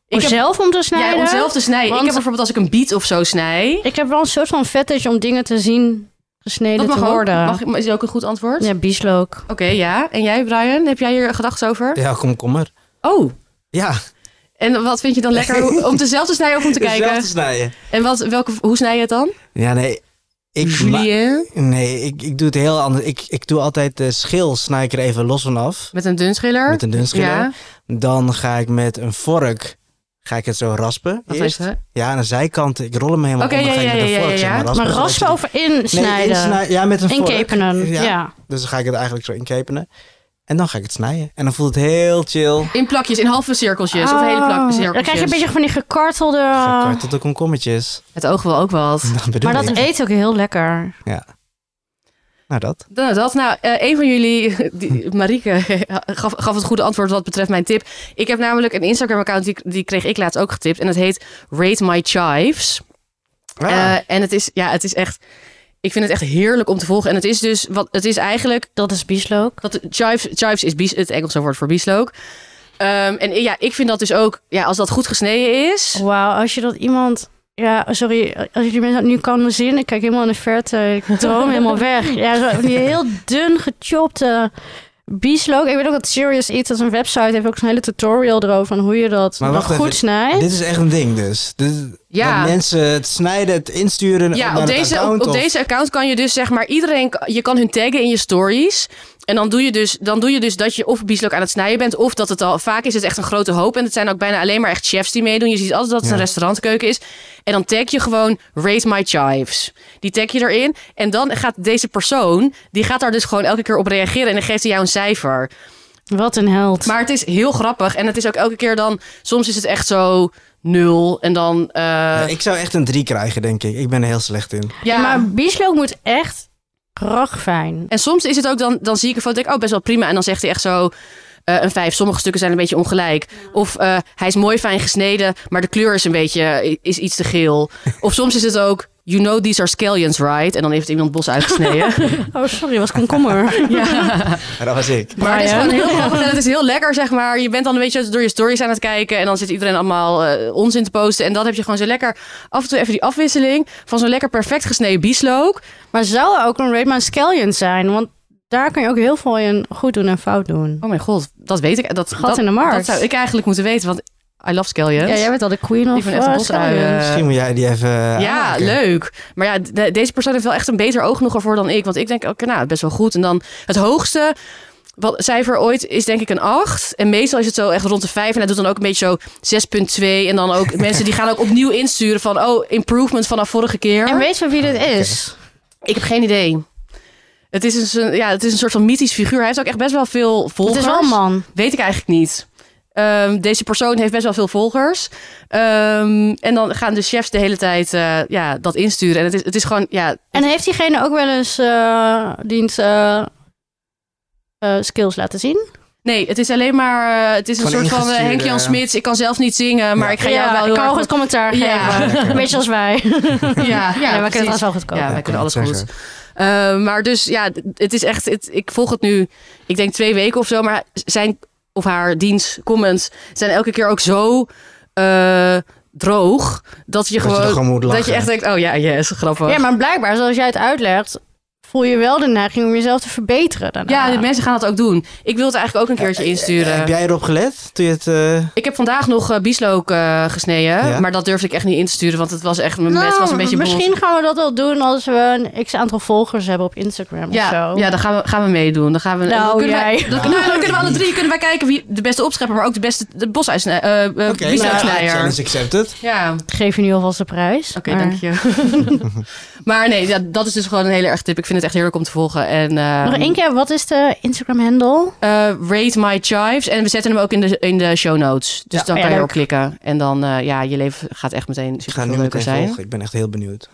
om
heb,
zelf om te snijden?
Ja, om zelf te snijden.
Want-
Ik heb bijvoorbeeld als ik een biet of zo snij.
Ik heb wel een soort van fetish om dingen te zien gesneden
Dat mag
te
ook.
worden.
Mag, ik- is dat ook een goed antwoord?
Ja, bieslook.
Oké, ja. En jij, Brian, heb jij hier gedachten over?
Ja, kom, kom maar.
Oh.
Ja, [laughs]
En wat vind je dan lekker hoe- om te zelf te snijden of om te
zelf
kijken?
te snijden.
En wat, welke, hoe snij je het dan?
Ja, nee. Ik, ma-
Julien?
nee, ik, ik doe het heel anders. Ik, ik doe altijd de schil snij ik er even los vanaf.
Met een dunschiller?
Met een dunschiller.
Ja,
Dan ga ik met een vork ga ik het zo raspen.
dat
eerst.
is het.
Ja, aan de zijkanten. Ik rol hem helemaal
Oké,
om. Dan
ja,
ga ik
ja,
met een
ja,
vork
ja,
zeg
ja.
maar raspen.
Maar raspen over
Nee,
insnijden.
insnij- ja, met een vork.
Inkepenen, ja.
Dus dan ga ik het eigenlijk zo inkepenen. En dan ga ik het snijden. En dan voelt het heel chill.
In plakjes, in halve cirkeltjes of
Oh.
hele plak cirkeltjes.
Dan krijg je een beetje van die gekartelde...
Ah.
Gekart tot de komkommetjes. [laughs]
Het oog wil ook wat.
Dat bedoel
Maar dat
e-
ik.
eet ook heel lekker.
Nou, dat.
Nou, dat, nou eh, een van jullie, [laughs] die, Marieke, [laughs] gaf, gaf het goede antwoord wat betreft mijn tip. Ik heb namelijk een Instagram-account, die, die kreeg ik laatst ook getipt. En dat heet Rate My Chives.
Ah.
Eh, en het is, ja, het is echt, ik vind het echt heerlijk om te volgen. En het is dus, wat, het is eigenlijk,
Dat is bieslook.
dat, chives, chives is bies, het Engelse woord voor bieslook. Ehm, en ja, ik vind dat dus ook, ja, als dat goed gesneden is.
Wauw, als je dat iemand... Ja, sorry, als jullie mensen dat nu kan zien. Ik kijk helemaal in de verte. Ik droom helemaal weg. Ja, zo van die heel dun gechopte bieslook. Ik weet ook dat Serious Eats, dat is een website, heeft ook zo'n hele tutorial erover van hoe je dat
Maar
nog
wacht
goed
even.
snijdt.
Dit is echt een ding dus. Dit-
Ja.
Dat mensen het snijden, het insturen
Ja,
naar
op
het
deze,
account
op, op
of-
deze account kan je dus zeg maar iedereen, je kan hun taggen in je stories. En dan doe je dus, dan doe je dus dat je of bieslook aan het snijden bent, of dat het al vaak is het echt een grote hoop. En het zijn ook bijna alleen maar echt chefs die meedoen. Je ziet altijd dat het een
Ja.
restaurantkeuken is. En dan tag je gewoon rate my chives. Die tag je erin. En dan gaat deze persoon, die gaat daar dus gewoon elke keer op reageren. En dan geeft hij jou een cijfer.
Wat een held.
Maar het is heel grappig. En het is ook elke keer dan, soms is het echt zo nul. En dan, eh,
Ja, ik zou echt een 3 krijgen, denk ik. Ik ben er heel slecht in.
ja. maar bieslook moet echt ragfijn.
En soms is het ook dan, dan zie ik een foto denk ik, oh best wel prima. En dan zegt hij echt zo eh, een vijf. Sommige stukken zijn een beetje ongelijk. Of eh, hij is mooi fijn gesneden, maar de kleur is een beetje, eh, is iets te
[laughs]
geel. Of soms is het ook, you know these are scallions, right? En dan heeft iemand bos
[laughs]
uitgesneden.
Oh, sorry, was komkommer. [laughs]
ja.
Maar dat was ik.
Maar het is gewoon
Brian.
heel grappig en het is heel lekker, zeg maar. Je bent dan een beetje door je stories aan het kijken en dan zit iedereen allemaal eh, onzin te posten. En dan heb je gewoon zo lekker, af en toe even die afwisseling van zo'n lekker perfect gesneden bieslook.
maar zou er ook een Raidman Scallion zijn? Want daar kun je ook heel veel in goed doen en fout doen.
Oh mijn god, dat weet ik. Dat,
Gat
dat,
in de markt.
Dat zou ik eigenlijk moeten weten, want I love scallions.
Ja, jij bent al de queen of
Ik ben echt een
eh,
bosuien.
scallions.
Misschien moet jij die even eh,
ja,
aanraken.
leuk. Maar ja, de- deze persoon heeft wel echt een beter oog nog ervoor dan ik. Want ik denk, oké, nou, best wel goed. En dan het hoogste wat, cijfer ooit is denk ik een 8. En meestal is het zo echt rond de 5. En hij doet dan ook een beetje zo 6.2. En dan
[laughs]
ook mensen die gaan ook opnieuw insturen van... oh, improvement vanaf vorige keer.
En weet je wie dit is?
ik heb geen idee. Het is, dus een, ja, het is een soort van mythisch figuur. Hij heeft ook echt best wel veel
Het
volgers.
is wel een man.
Weet ik eigenlijk niet. Ehm, deze persoon heeft best wel veel volgers. Ehm, en dan gaan de chefs de hele tijd eh, ja, dat insturen. En het is, het is gewoon, ja,
En heeft diegene ook wel eens eh dienst eh, eh, skills laten zien?
nee, het is alleen maar, eh, het is een
Gewoon
soort van eh,
ingestuurde,
Henk-Jan
ja.
Smits. Ik kan zelf niet zingen, maar
Ja.
ik ga jou wel heel
ik kan
erg
ook het commentaar
Ja. [laughs]
geven. Beetje als wij.
goed- Ja, ja,
[laughs] Ja, we kunnen het
precies.
wel goed kopen.
Ja, wij
ik
kunnen
kan
alles
het
goed.
zeggen.
Eh, maar dus ja, d- het is echt, het, ik volg het nu, ik denk twee weken of zo. Maar zijn of haar dienst, comments zijn elke keer ook zo eh, droog. Dat je
Dat je er
gewoon,
gewoon moet lachen.
dat je echt denkt, oh ja, yes, grappig.
Ja, maar blijkbaar, zoals jij het uitlegt, voel je wel de neiging om jezelf te verbeteren daarna.
Ja, de mensen gaan dat ook doen. Ik wil het eigenlijk ook een keertje
Heb
insturen.
jij erop gelet toen je het... eh,
Ik heb vandaag nog eh, bieslook eh, gesneden.
Ja.
Maar dat durfde ik echt niet in te sturen. Want het was echt, mijn mes
Nou,
was een beetje bont.
Misschien gaan we dat wel doen als we een x-aantal volgers hebben op Instagram of
Ja,
zo.
ja, dan gaan we, gaan we meedoen. Dan gaan we.
Nou,
dan kunnen
jij.
Wij, dan, kunnen- dan kunnen we alle drie kunnen wij kijken wie de beste opschepper, maar ook de beste de bosuitsnij- eh eh,
Oké, nou,
biesnoodsnijer.
challenge accepted.
ja, oké,
Geef je nu alvast de prijs. maar-
dank je. [laughs] maar nee, ja, dat is dus gewoon een hele erg tip. Ik vind het echt heerlijk om te volgen. En, eh,
Nog één keer, wat is de Instagram-handle?
eh, rate my chives. En we zetten hem ook in de, in de show notes. Dus
Ja,
dan
ja,
kan je
leuk.
erop klikken. En dan, eh, ja, je leven gaat echt meteen
Ik ga
super
nu
veel leuker
meteen
zijn.
volgen. Ik ben echt heel benieuwd.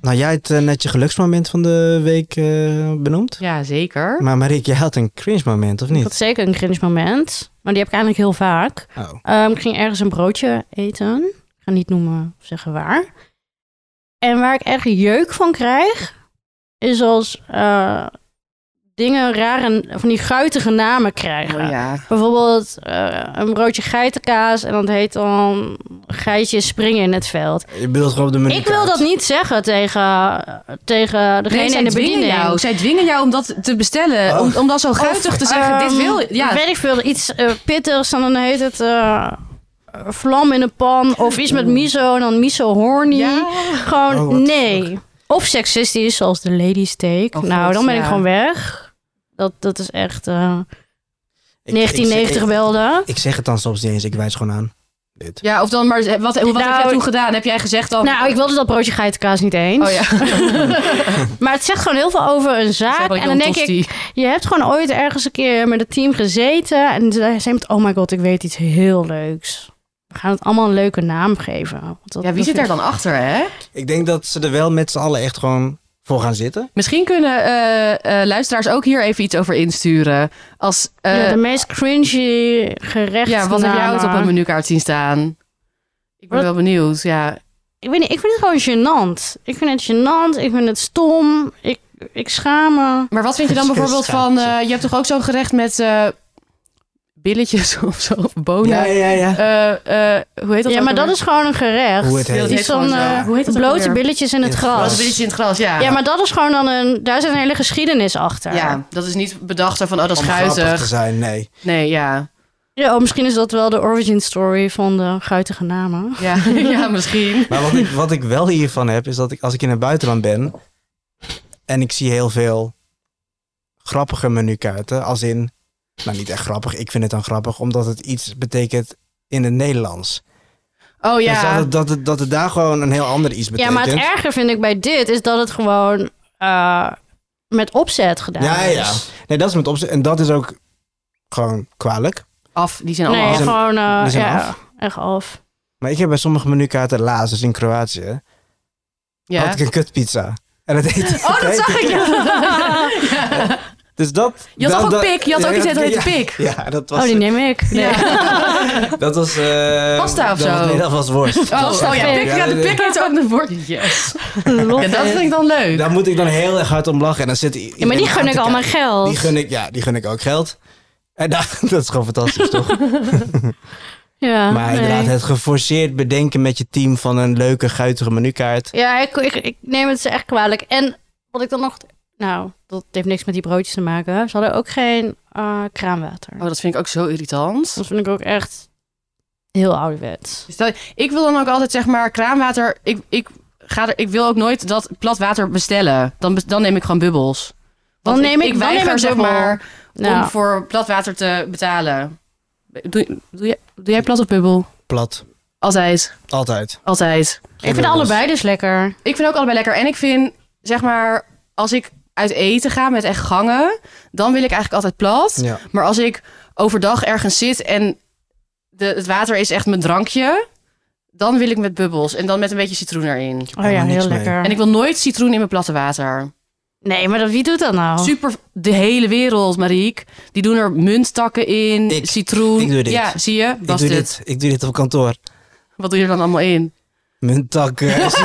Nou, jij hebt eh, net je geluksmoment van de week eh, benoemd.
Ja, zeker.
Maar Marik, jij had een cringe moment, of niet?
Dat is zeker een cringe moment. Maar die heb ik eigenlijk heel vaak.
Oh.
Ehm, ik ging ergens een broodje eten. Ik ga niet noemen of zeggen waar. En waar ik echt jeuk van krijg, is als eh, dingen rare, van die guitige namen krijgen.
Oh, ja.
Bijvoorbeeld eh, een broodje geitenkaas en dat heet dan geitjes springen in het veld.
Je bedoelt gewoon op de menu.
Ik wil dat niet zeggen tegen, tegen degene
Nee, zij
in de
dwingen
bediening.
jou. Zij dwingen jou om dat te bestellen.
Oh.
Om, om dat zo guitig te zeggen. Dus dit
Ehm,
wil ja,
Weet ik veel, iets eh, pittigs, dan heet het eh, vlam in de pan. Of iets met miso en dan miso horny. Gewoon
Oh, what the
nee. Of seksistisch, zoals de lady steak.
Oh,
nou,
God,
dan ben
ja.
ik gewoon weg. Dat, dat is echt eh,
Ik-
1990
ik, ik,
welde.
ik zeg het dan soms niet eens, ik wijs gewoon aan. Dit.
Ja, of dan maar, wat, wat heb jij
Nou,
toen gedaan? Heb jij gezegd dan...
Nou, ik wilde dat broodje geitenkaas niet
[laughs]
eens.
oh ja,
Maar het zegt gewoon heel veel over een zaak. En dan denk ik, je hebt gewoon ooit ergens een keer met het team gezeten. En zei iemand, oh my god, ik weet iets heel leuks. We gaan het allemaal een leuke naam geven. Want dat-
Ja, wie
dat
zit
vind
daar dan achter, hè?
Ik denk dat ze er wel met z'n allen echt gewoon voor gaan zitten.
Misschien kunnen eh, eh, luisteraars ook hier even iets over insturen. Als, eh,
ja, de meest cringy gerecht.
ja, wat heb jij ooit op een menukaart zien staan? Ik ben
Wat?
wel benieuwd, ja.
Ik weet niet, ik vind het gewoon gênant. Ik vind het gênant, ik vind het stom, ik, ik schaam me.
Maar wat vind je dan bijvoorbeeld van...
Schaamte.
eh, je hebt toch ook zo'n gerecht met eh, billetjes [laughs] of zo, of bonen?
Ja, ja, ja.
nou? Eh, eh, hoe heet dat
Ja,
ook
maar dat
alweer?
is gewoon een gerecht.
Hoe het heet.
Iets van
Gewoon zo.
eh,
Hoe heet dat ook
blote
alweer?
billetjes in het
In het gras.
Blote
gras.
billetjes in het gras, ja.
Ja, maar dat is gewoon dan een... Daar zit een hele geschiedenis achter.
Ja, dat is niet bedacht zo van, oh, dat is
Om grappig te
guitig.
zijn, nee.
Nee, ja.
Ja, oh, misschien is dat wel de origin story van de guitige namen.
Ja, [laughs] ja misschien.
Maar wat ik, wat ik wel hiervan heb, is dat ik als ik in het buitenland ben en ik zie heel veel grappige menukaarten, als in, nou niet echt grappig, ik vind het dan grappig, omdat het iets betekent in het Nederlands.
Oh
Dus dat,
ja.
het, dat, het, dat het daar gewoon een heel ander iets
Ja,
betekent.
maar het erger vind ik bij dit is dat het gewoon eh, met opzet gedaan
Ja,
is.
ja. Nee, dat is met opzet. En dat is ook gewoon kwalijk.
Af, die zijn allemaal
Nee,
Die
af.
zijn-
gewoon eh,
die zijn
ja,
af.
echt af.
Maar ik heb bij sommige menukaarten, helaas, dus in Kroatië, had
Ja.
ik een kutpizza. En dat heet,
Oh,
[laughs]
dat zag ik ja. Ja.
Dus dat...
Je had
dat-
ook een
dat-
pik. Je had ook
Ja,
iets dat
dat-
heette
ja.
pik.
Ja, dat was...
Oh, die neem ik.
[laughs]
Nee.
Dat was... eh,
Pasta of
dat
zo?
was- nee, dat was worst.
Oh, oh ja, pik, ja, de
dat-
pik heet ook de woord. Yes.
Lof.
Ja, dat vind ik dan leuk.
Daar moet ik dan heel erg hard om lachen. En dan zit i-
Ja, maar die
iedereen aan
gun ik
te
al mijn
kijken.
geld.
Die gun ik, ja, die gun ik ook geld. En da- [laughs] dat is gewoon fantastisch,
[laughs]
toch?
Ja,
maar
nee.
inderdaad, het geforceerd bedenken met je team van een leuke, guitige menukaart.
Ja, ik, ik, ik neem het ze echt kwalijk. En wat ik dan nog... Nou, dat heeft niks met die broodjes te maken. Ze hadden ook geen eh, kraanwater.
Oh, dat vind ik ook zo irritant.
Dat vind ik ook echt heel ouderwets.
Dus dat- ik wil dan ook altijd, zeg maar, kraanwater... Ik, ik, ga er, ik wil ook nooit dat plat water bestellen. Dan, bes- dan neem ik gewoon bubbels. Want
Dan neem ik- dan neem
weiger,
ik
zeg
bubbel.
maar,
Nou,
om voor plat water te betalen. Doe, doe, jij, doe jij plat of bubbel?
Plat.
Altijd.
Altijd.
Altijd.
ik vind allebei dus lekker.
Ik vind ook allebei lekker. En ik vind, zeg maar, als ik uit eten ga met echt gangen, dan wil ik eigenlijk altijd plat.
Ja.
Maar als ik overdag ergens zit en de, het water is echt mijn drankje, dan wil ik met bubbels. En dan met een beetje citroen erin.
Oh ja,
Helemaal niks
heel
mee.
lekker.
En ik wil nooit citroen in mijn platte water.
Nee, maar dat, wie doet dat nou?
Super, de hele wereld, Mariek. Die doen er munttakken in,
Ik-
citroen.
ik doe dit.
Ja, zie je?
Ik
Was
doe
dit.
dit. Ik doe dit op kantoor.
Wat doe je er dan allemaal in?
Oh,
Mijn tak.
[laughs]
eh, is-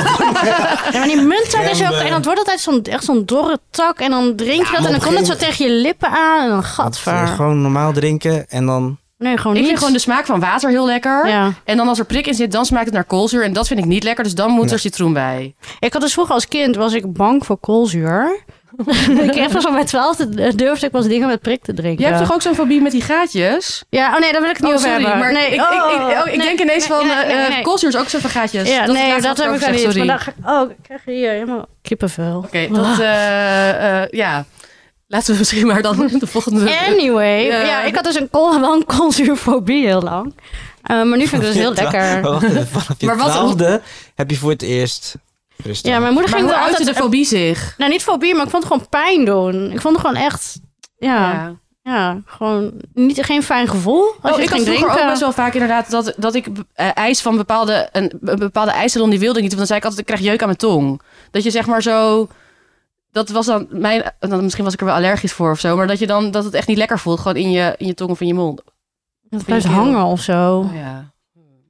Ja, maar die munttak is ook...
Crème, eh.
En dat wordt altijd zo'n echt zo'n dorre tak. En dan drink je
Ja,
dat
maar
en
op
dan komt het
een
zo tegen je lippen aan. En dan
Want, eh,
gadver.
Gewoon normaal drinken en dan
Nee, gewoon
Ik
niet.
vind gewoon de smaak van water heel lekker.
Ja.
En dan als er prik in zit, dan smaakt het naar koolzuur. En dat vind ik niet lekker, dus dan moet
Nee.
er citroen bij.
Ik had dus vroeger als kind, was ik bang voor koolzuur. [laughs] ik heb pas al bij 12 de- eh, durfde ik pas dingen met prik te drinken.
Jij hebt toch ook zo'n fobie met die gaatjes?
Ja, oh nee, daar wil ik het niet
Oh,
over
sorry,
eh, hebben.
maar
nee,
ik,
oh,
ik, ik, oh, ik
nee,
denk ineens
nee,
van,
nee,
eh,
nee, nee.
koolzuur is ook zo van gaatjes.
Ja,
dat is
nee,
laatst
dat
wat
heb ik
over
dan niet.
gezegd,
Maar
sorry.
dan ga ik, oh, ik krijg hier helemaal kippenvel. Ah.
Oké, dat, eh, [laughs] eh, ja. Laten we misschien maar
[laughs]
dan de volgende...
Anyway,
Ja.
ja. ik had dus een kool, [laughs] wel een koolzuurfobie heel lang. Eh, maar nu vind ik het dus
[laughs]
heel lekker.
Vanaf je
Maar wat-
twaalfde heb je voor het eerst rustig.
Ja, mijn moeder
Maar
ging
hoe
er
uitte
altijd...
de fobie zich?
Nou, niet fobie, maar ik vond het gewoon pijn doen. Ik vond het gewoon echt... Ja, ja. gewoon niet, geen fijn gevoel als
Oh,
je
ik had
het ging
vroeger
drinken.
ook best wel vaak inderdaad dat, dat ik eh, ijs van bepaalde, een, een bepaalde ijssalon die wilde ik niet. Want dan zei ik altijd, ik krijg jeuk aan mijn tong. Dat je zeg maar zo... Dat was dan mijn... Dan, misschien was ik er wel allergisch voor of zo. Maar dat je dan dat het echt niet lekker voelt. Gewoon in je, in je tong of in je mond.
Het blijft hangen of zo.
Oh, ja.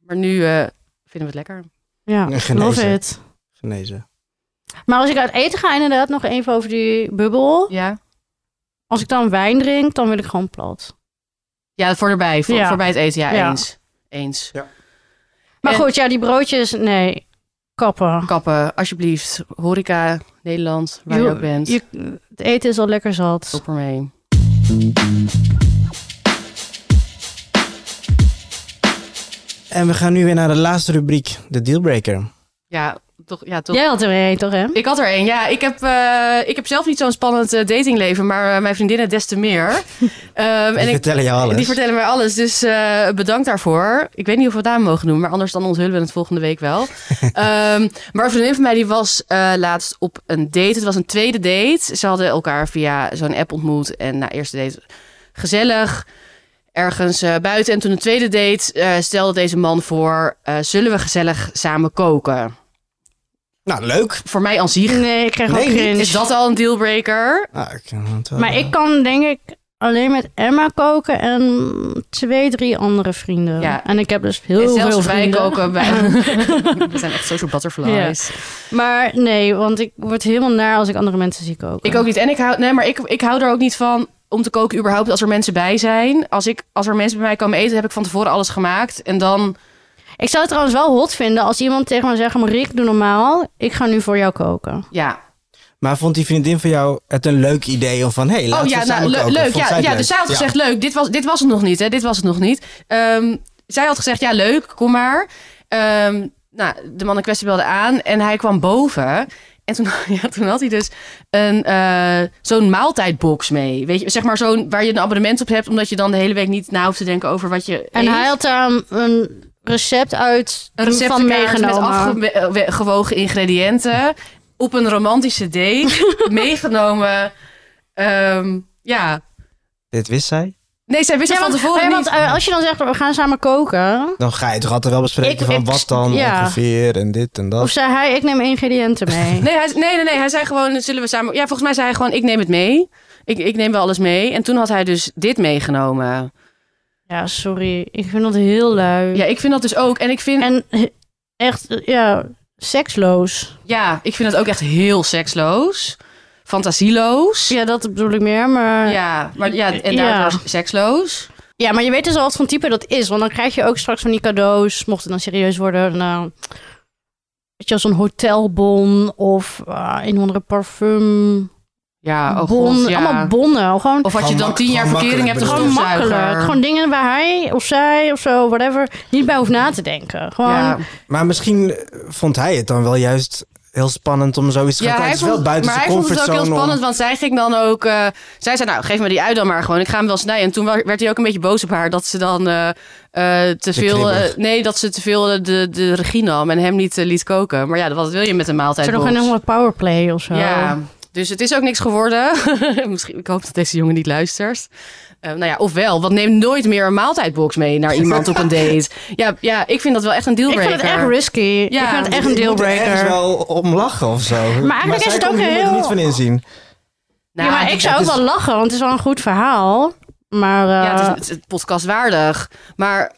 Maar nu eh, vinden we het lekker.
Ja,
Genezen.
love it.
Genezen.
Maar als ik uit eten ga, inderdaad, nog even over die bubbel.
Ja?
Als ik dan wijn drink, dan wil ik gewoon plat.
Ja, voor erbij. Voor,
Ja.
Voorbij het eten. Ja,
Ja.
eens. Eens.
Maar
En-
goed, ja, die broodjes, nee, kappen.
Kappen, alsjeblieft. Horeca, Nederland, waar je
Je-
ook bent.
je- het eten is al lekker zat.
Stop ermee.
En we gaan nu weer naar de laatste rubriek, de dealbreaker.
Ja, toch. Ja, toch.
Jij had er weer een, toch hè?
Ik had er één, ja. Ik heb, eh, ik heb zelf niet zo'n spannend eh, datingleven, maar eh, mijn vriendinnen des te meer. Ehm,
Die
en ik,
vertellen jou alles.
die vertellen mij alles, dus eh, bedankt daarvoor. Ik weet niet of we het daar mogen noemen, maar anders dan onthullen we het volgende week
[laughs]
wel. Ehm, maar een vriendin van mij die was eh, laatst op een date. Het was een tweede date. Ze hadden elkaar via zo'n app ontmoet en na eerste date gezellig ergens eh, buiten. En toen een tweede date eh, stelde deze man voor, eh, zullen we gezellig samen koken?
Nou, leuk.
Voor mij aan zich
Nee, ik krijg
Nee,
ook
niet.
cringe.
is dat al een dealbreaker?
Ah, ik kan het wel-
Maar ik kan denk ik alleen met Emma koken en twee, drie andere vrienden.
Ja.
En ik heb dus
En
heel veel
zelfs wij
vrienden.
koken bij.
[laughs]
We zijn echt social butterflies.
Maar nee, want ik word helemaal naar als ik andere mensen zie koken.
Ik ook niet. En ik hou, nee, maar ik, ik hou er ook niet van om te koken überhaupt als er mensen bij zijn. Als, ik, als er mensen bij mij komen eten, heb ik van tevoren alles gemaakt. En dan,
Ik zou het trouwens wel hot vinden als iemand tegen me zegt... Mariek, doe normaal. Ik ga nu voor jou koken.
ja.
Maar vond die vriendin van jou het een leuk idee? Of van, hé, hey, laten
oh
we
ja,
samen
nou, le-
koken.
leuk.
Vond
Ja,
zij het
ja
leuk?
dus zij had
Ja.
gezegd, leuk, dit was, dit was het nog niet. Hè, dit was het nog niet. Ehm, zij had gezegd, ja, leuk, kom maar. Ehm, nou, de man in kwestie belde aan en hij kwam boven. En toen, [laughs] ja, toen had hij dus een, eh, zo'n maaltijdbox mee. Weet je, zeg maar zo'n waar je een abonnement op hebt, omdat je dan de hele week niet na hoeft te denken over wat je.
En
eet.
hij had daar een- een recept uit
een
van
receptenkaart met
meegenomen.
afgewogen ingrediënten op een romantische
[laughs]
date meegenomen. Ehm, ja.
Dit wist zij?
Nee, zij wist
Ja,
het
want,
van tevoren
nee,
niet.
want, eh, als je dan zegt, we gaan samen koken...
Dan ga je toch altijd wel bespreken
Ik-
van
ik-
wat dan
ja.
ongeveer en dit en dat.
Of zei hij, ik neem ingrediënten
[laughs]
mee.
Nee, hij, nee, nee, nee, hij zei gewoon, zullen we samen... Ja, volgens mij zei hij gewoon, ik neem het mee. Ik, ik neem wel alles mee. En toen had hij dus dit meegenomen.
Ja, sorry. Ik vind dat heel lui.
Ja, ik vind dat dus ook. En ik vind,
En he- echt, ja, seksloos.
ja, ik vind dat ook echt heel seksloos. Fantasieloos. Ja,
Ja, dat bedoel ik meer, maar... Ja.
maar ja, en
Ja.
daardoor seksloos.
maar je weet dus al wat voor type dat is. Want dan krijg je ook straks van die cadeaus, mocht het dan serieus worden... Nou, weet je, wel, zo'n hotelbon of eh, een of andere parfum.
Ja, oh
bon,
god, ja.
Allemaal bonnen.
Of
Gewoon,
als je
Gewoon
dan
mak-
tien jaar
gewoon
verkering hebt,
makkelijk
een
gewoon
bedoeld.
stofzuiger.
makkelijk. Gewoon dingen waar hij of zij of zo, whatever, niet bij hoeft na te denken. Gewoon,
Ja.
ja.
Maar misschien eh, vond hij het dan wel juist heel spannend om zoiets te gaan
Ja,
koken.
hij
Het is wel
vond,
buiten
maar
zijn
hij vond het ook
comfortzone.
heel
om-
spannend, want zij ging dan ook... eh, zij zei, nou, geef me die uit dan maar gewoon. Ik ga hem wel snijden. En toen wa- werd hij ook een beetje boos op haar dat ze dan eh, eh, te veel... eh,
kribbig.
nee, dat ze te veel eh, de, de regie nam en hem niet eh, liet koken. Maar ja, wat wil je met een maaltijd?
Is er nog een hele powerplay of zo?
Ja, dus het is ook niks geworden. [laughs] Misschien, ik hoop dat deze jongen niet luistert. Eh, nou ja, ofwel, want neem nooit meer een maaltijdbox mee naar iemand op een
[laughs]
date. Ja, ja ik vind dat wel echt een
Ik
dealbreaker.
vind het echt risky.
Ja.
Ik vind het echt een
Je moet er ergens
dealbreaker.
wel om lachen of zo. Maar
eigenlijk
zij
is het
kon
ook
hier er
heel-
niet van inzien.
Nou,
ja, maar ik zou ook
het is-
wel lachen, want het is wel een goed verhaal. Maar eh,
Ja, het is, het is het podcast waardig. Maar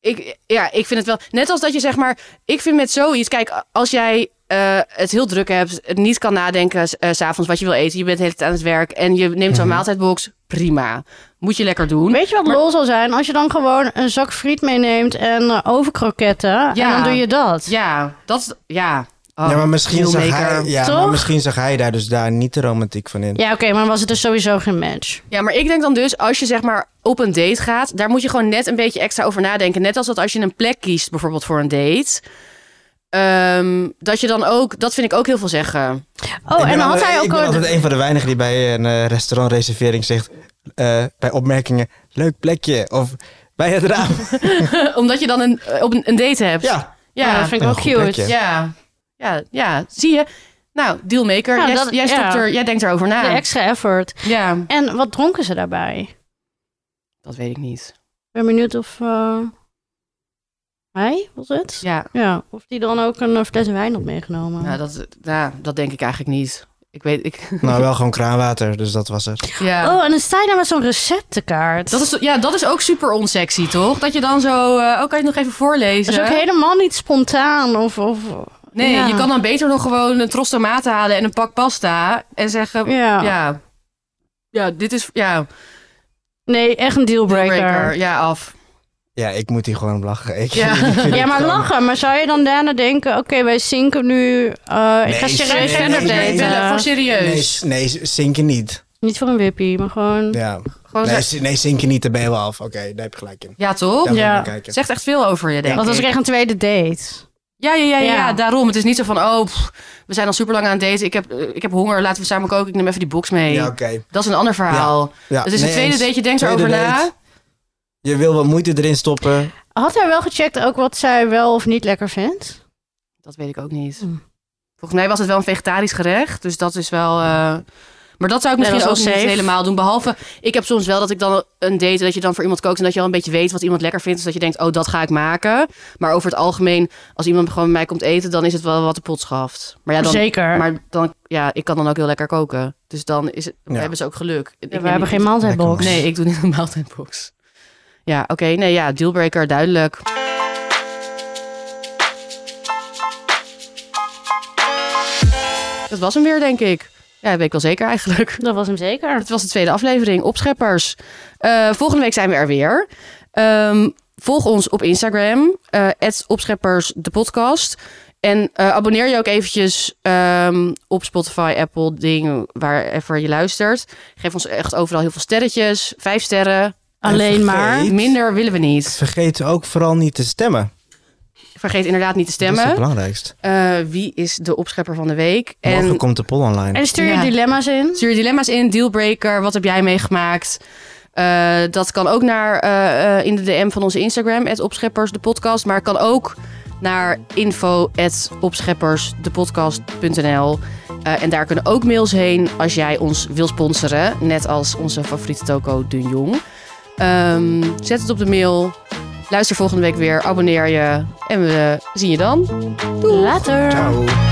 ik, ja, ik vind het wel. Net als dat je zeg maar. Ik vind met zoiets. Kijk, als jij eh, het heel druk hebt. Het niet kan nadenken eh, s s'avonds wat je wil eten. Je bent de hele tijd aan het werk. En je neemt zo'n maaltijdbox. prima. Moet je lekker doen.
Mhm. Weet je wat lol zal zijn? Als je dan gewoon een zak friet meeneemt en eh, overkroketten.
Ja.
En dan doe je dat.
Ja, dat is... Ja. Oh,
ja, maar misschien zag,
dealmaker.
hij, ja, maar
Toch?
misschien zag hij daar dus daar niet de romantiek van in.
Ja, oké, maar dan was het dus sowieso geen match.
Ja, maar ik denk dan dus, als je zeg maar op een date gaat, daar moet je gewoon net een beetje extra over nadenken. Net als dat als je een plek kiest, bijvoorbeeld voor een date. ehm, dat je dan ook, dat vind ik ook heel veel zeggen.
Ik
Oh,
ben
en dan had
altijd-
hij ook
Ik ben
al...
altijd een van de weinigen die bij een eh, restaurantreservering zegt... eh, bij opmerkingen, leuk plekje of bij het raam.
[laughs] Omdat je dan een, eh, op een, een date hebt.
ja,
Ja, Ah,
ja,
dat vind ik
Een
wel
goed plekje.
cute.
ja, ja, ja. zie je. Nou, dealmaker,
Nou,
jij,
dat-
jij, stopt
ja.
er, jij denkt erover na.
De extra effort.
Ja,
En wat dronken ze daarbij?
dat weet ik niet.
Ik ben benieuwd of eh, hij, was het?
Ja,
Ja, of die dan ook een eh, fles wijn had meegenomen.
nou, dat, ja, dat denk ik eigenlijk niet. Ik weet, ik, [laughs]
Nou, wel gewoon kraanwater, dus dat was het.
ja.
Oh, en dan sta je daar met zo'n receptenkaart.
Dat is, ja, dat is ook super onsexy, toch? Dat je dan zo... eh, oh, kan je het nog even voorlezen?
Dat is ook helemaal niet spontaan. Of, of,
Nee,
Ja.
je kan dan beter nog gewoon een tros tomaten halen en een pak pasta. En zeggen, ja.
ja.
Ja, dit is... Ja,
Nee, echt een dealbreaker.
breaker. Ja, af.
Ja, ik moet hier gewoon om lachen. Ik, [laughs]
Ja.
ik vind
Ja,
het
maar
gewoon-
lachen. Maar zou je dan daarna denken... Oké, wij zinken nu. eh, ik ga
Nee,
Geen
serieus
nee,
gender
verder
nee,
daten,
nee,
daten.
voor
Nee,
serieus.
s- nee, s- zinken niet.
Niet voor een wippie, maar gewoon...
Ja.
Gewoon
Nee,
zo-
s-
Oh,
nee, zinken niet, daar ben je wel af. Oké, daar heb je gelijk in.
ja, toch?
Daar wil
Ja.
ik naar kijken.
Zegt echt veel over je, denk
Want dat is
ik.
echt een tweede date.
Ja, ja, ja, ja,
Ja.
ja, daarom. Het is niet zo van, oh, pff, we zijn al super lang aan het daten. Ik heb, eh, ik heb honger, laten we samen koken. Ik neem even die box mee.
Ja, oké.
Dat is een ander verhaal.
Ja,
Het Dus is een
nee,
tweede
eens.
date, je denkt
Tweede
erover na.
date. Je wil wat moeite erin stoppen.
Had hij wel gecheckt ook wat zij wel of niet lekker vindt?
Dat weet ik ook niet.
Hm.
Volgens mij was het wel een vegetarisch gerecht. Dus dat is wel. eh, Maar dat zou ik
Nee,
misschien
dat
ook
is wel
niet
safe.
helemaal doen. Behalve, ik heb soms wel dat ik dan een date... dat je dan voor iemand kookt en dat je al een beetje weet wat iemand lekker vindt. Dus dat je denkt, oh, dat ga ik maken. Maar over het algemeen, als iemand gewoon bij mij komt eten... dan is het wel wat de pot schaft. Maar ja, dan,
Zeker. Maar,
maar dan, ja, ik kan dan ook heel lekker koken. Dus dan is het, we
Ja.
hebben ze ook geluk. Ik neem
we hebben
niet-
geen maaltijdbox.
Lekker
Nee, ik doe niet een maaltijdbox. Ja, oké. nee, ja, dealbreaker, duidelijk. Dat was hem weer, denk ik. Ja, dat weet ik wel zeker eigenlijk.
Dat was hem zeker.
Het was de tweede aflevering, Opscheppers. Eh, volgende week zijn we er weer. Ehm, volg ons op Instagram, eh Opscheppers, de podcast. En eh, abonneer je ook eventjes ehm, op Spotify, Apple, ding, waarver je luistert. Geef ons echt overal heel veel sterretjes. Vijf sterren,
Alleen
En
maar...
vergeet-
minder willen we niet.
Vergeet ook vooral niet te stemmen.
Vergeet inderdaad niet te
Dat is het
stemmen.
belangrijkste.
Eh, wie is de opschepper van de week?
Morgen
En
komt de poll online.
En stuur je
Ja.
dilemma's in.
Stuur je dilemma's in, dealbreaker, wat heb jij meegemaakt? Eh, dat kan ook naar eh, eh, in de DM van onze Instagram, opscheppers, de podcast. Maar kan ook naar info opscheppers, de podcast.nl. Eh, en daar kunnen ook mails heen als jij ons wil sponsoren. Net als onze favoriete toko Dun Jong. Ehm, zet het op de mail. Luister volgende week weer. Abonneer je. En we zien je dan.
Later.
Ciao.